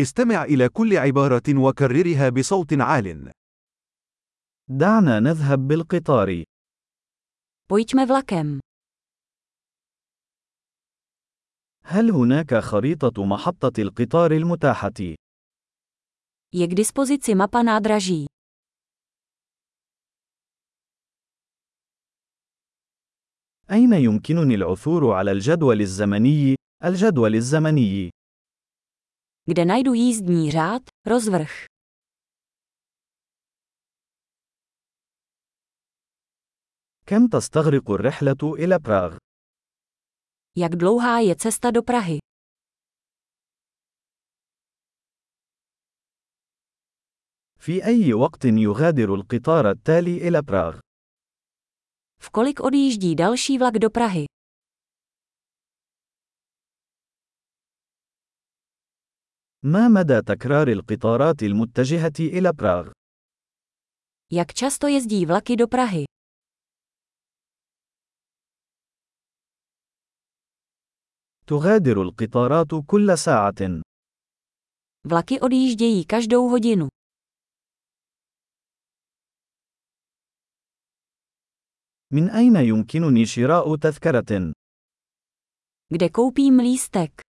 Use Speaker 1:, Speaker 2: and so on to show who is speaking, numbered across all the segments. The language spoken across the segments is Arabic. Speaker 1: استمع إلى كل عبارة وكررها بصوت عال.
Speaker 2: دعنا نذهب بالقطار.
Speaker 3: Pojďme vlakem.
Speaker 2: هل هناك خريطة محطة القطار المتاحة؟
Speaker 3: Je k dispozici mapa nádraží.
Speaker 2: أين يمكنني العثور على الجدول الزمني؟ الجدول الزمني.
Speaker 3: Kde najdu jízdní řád? Rozvrh.
Speaker 2: كم تستغرق الرحلة إلى براغ؟
Speaker 3: Jak dlouhá je cesta do Prahy?
Speaker 2: في أي وقت يغادر القطار التالي إلى براغ؟
Speaker 3: V kolik odjíždí další vlak do Prahy?
Speaker 2: ما مدى تكرار القطارات المتجهة إلى براغ؟
Speaker 3: Jak často jezdí vlaky do Prahy?
Speaker 2: تغادر القطارات كل ساعة.
Speaker 3: Vlaky odjíždějí každou hodinu.
Speaker 2: من أين يمكنني شراء تذكرة؟
Speaker 3: Kde koupím lístek?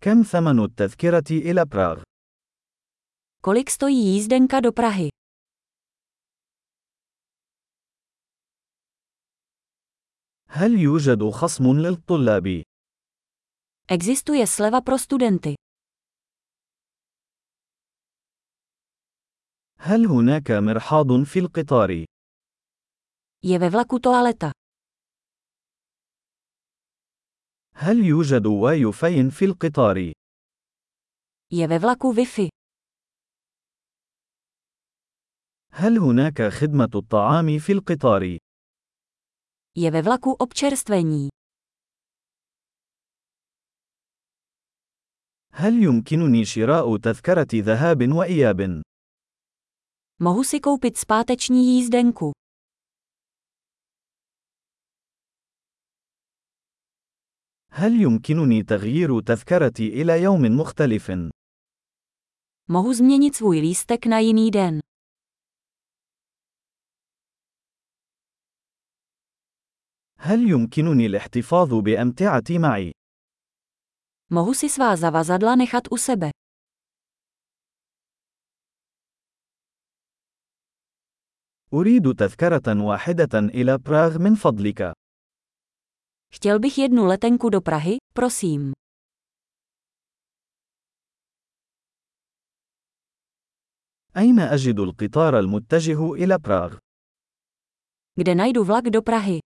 Speaker 2: كم ثمن التذكرة إلى براغ؟
Speaker 3: Kolik stojí jízdenka do Prahy?
Speaker 2: هل يوجد خصم للطلاب؟
Speaker 3: Existuje sleva pro studenty.
Speaker 2: هل هناك مرحاض في القطار؟
Speaker 3: Je ve vlaku toaleta.
Speaker 2: هل يوجد واي فاي في القطار؟
Speaker 3: Je ve vlaku Wi-Fi.
Speaker 2: هل هناك خدمة الطعام في القطار؟
Speaker 3: Je ve vlaku občerstvení.
Speaker 2: هل يمكنني شراء تذكرة ذهاب وإياب؟
Speaker 3: Mohu si koupit zpáteční jízdenku.
Speaker 2: هل يمكنني تغيير تذكرتي إلى يوم مختلف؟
Speaker 3: Mohu změnit svůj lístek na jiný den.
Speaker 2: هل يمكنني الاحتفاظ بأمتعتي معي؟
Speaker 3: Mohu si svá zavazadla nechat u sebe.
Speaker 2: أريد تذكرة واحدة إلى براغ من فضلك.
Speaker 3: Chtěl bych jednu letenku do Prahy, prosím.
Speaker 2: أين أجد القطار المتجه إلى براغ؟
Speaker 3: Kde najdu vlak do Prahy?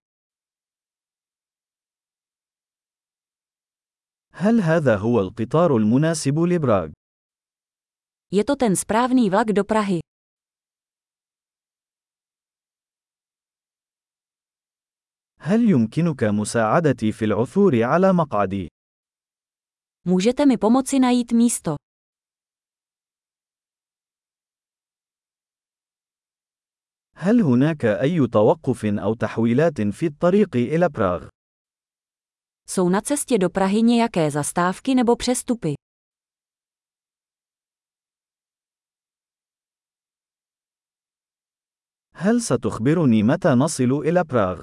Speaker 2: هل هذا هو القطار المناسب لبراغ؟
Speaker 3: Je to ten správný vlak do Prahy.
Speaker 2: هل يمكنك مساعدتي في العثور على مقعدي؟
Speaker 3: Můžete mi pomoci najít místo.
Speaker 2: هل هناك أي توقف أو تحويلات في الطريق إلى براغ؟
Speaker 3: Jsou na cestě do Prahy nějaké zastávky nebo přestupy?
Speaker 2: هل ستخبرني متى نصل إلى براغ؟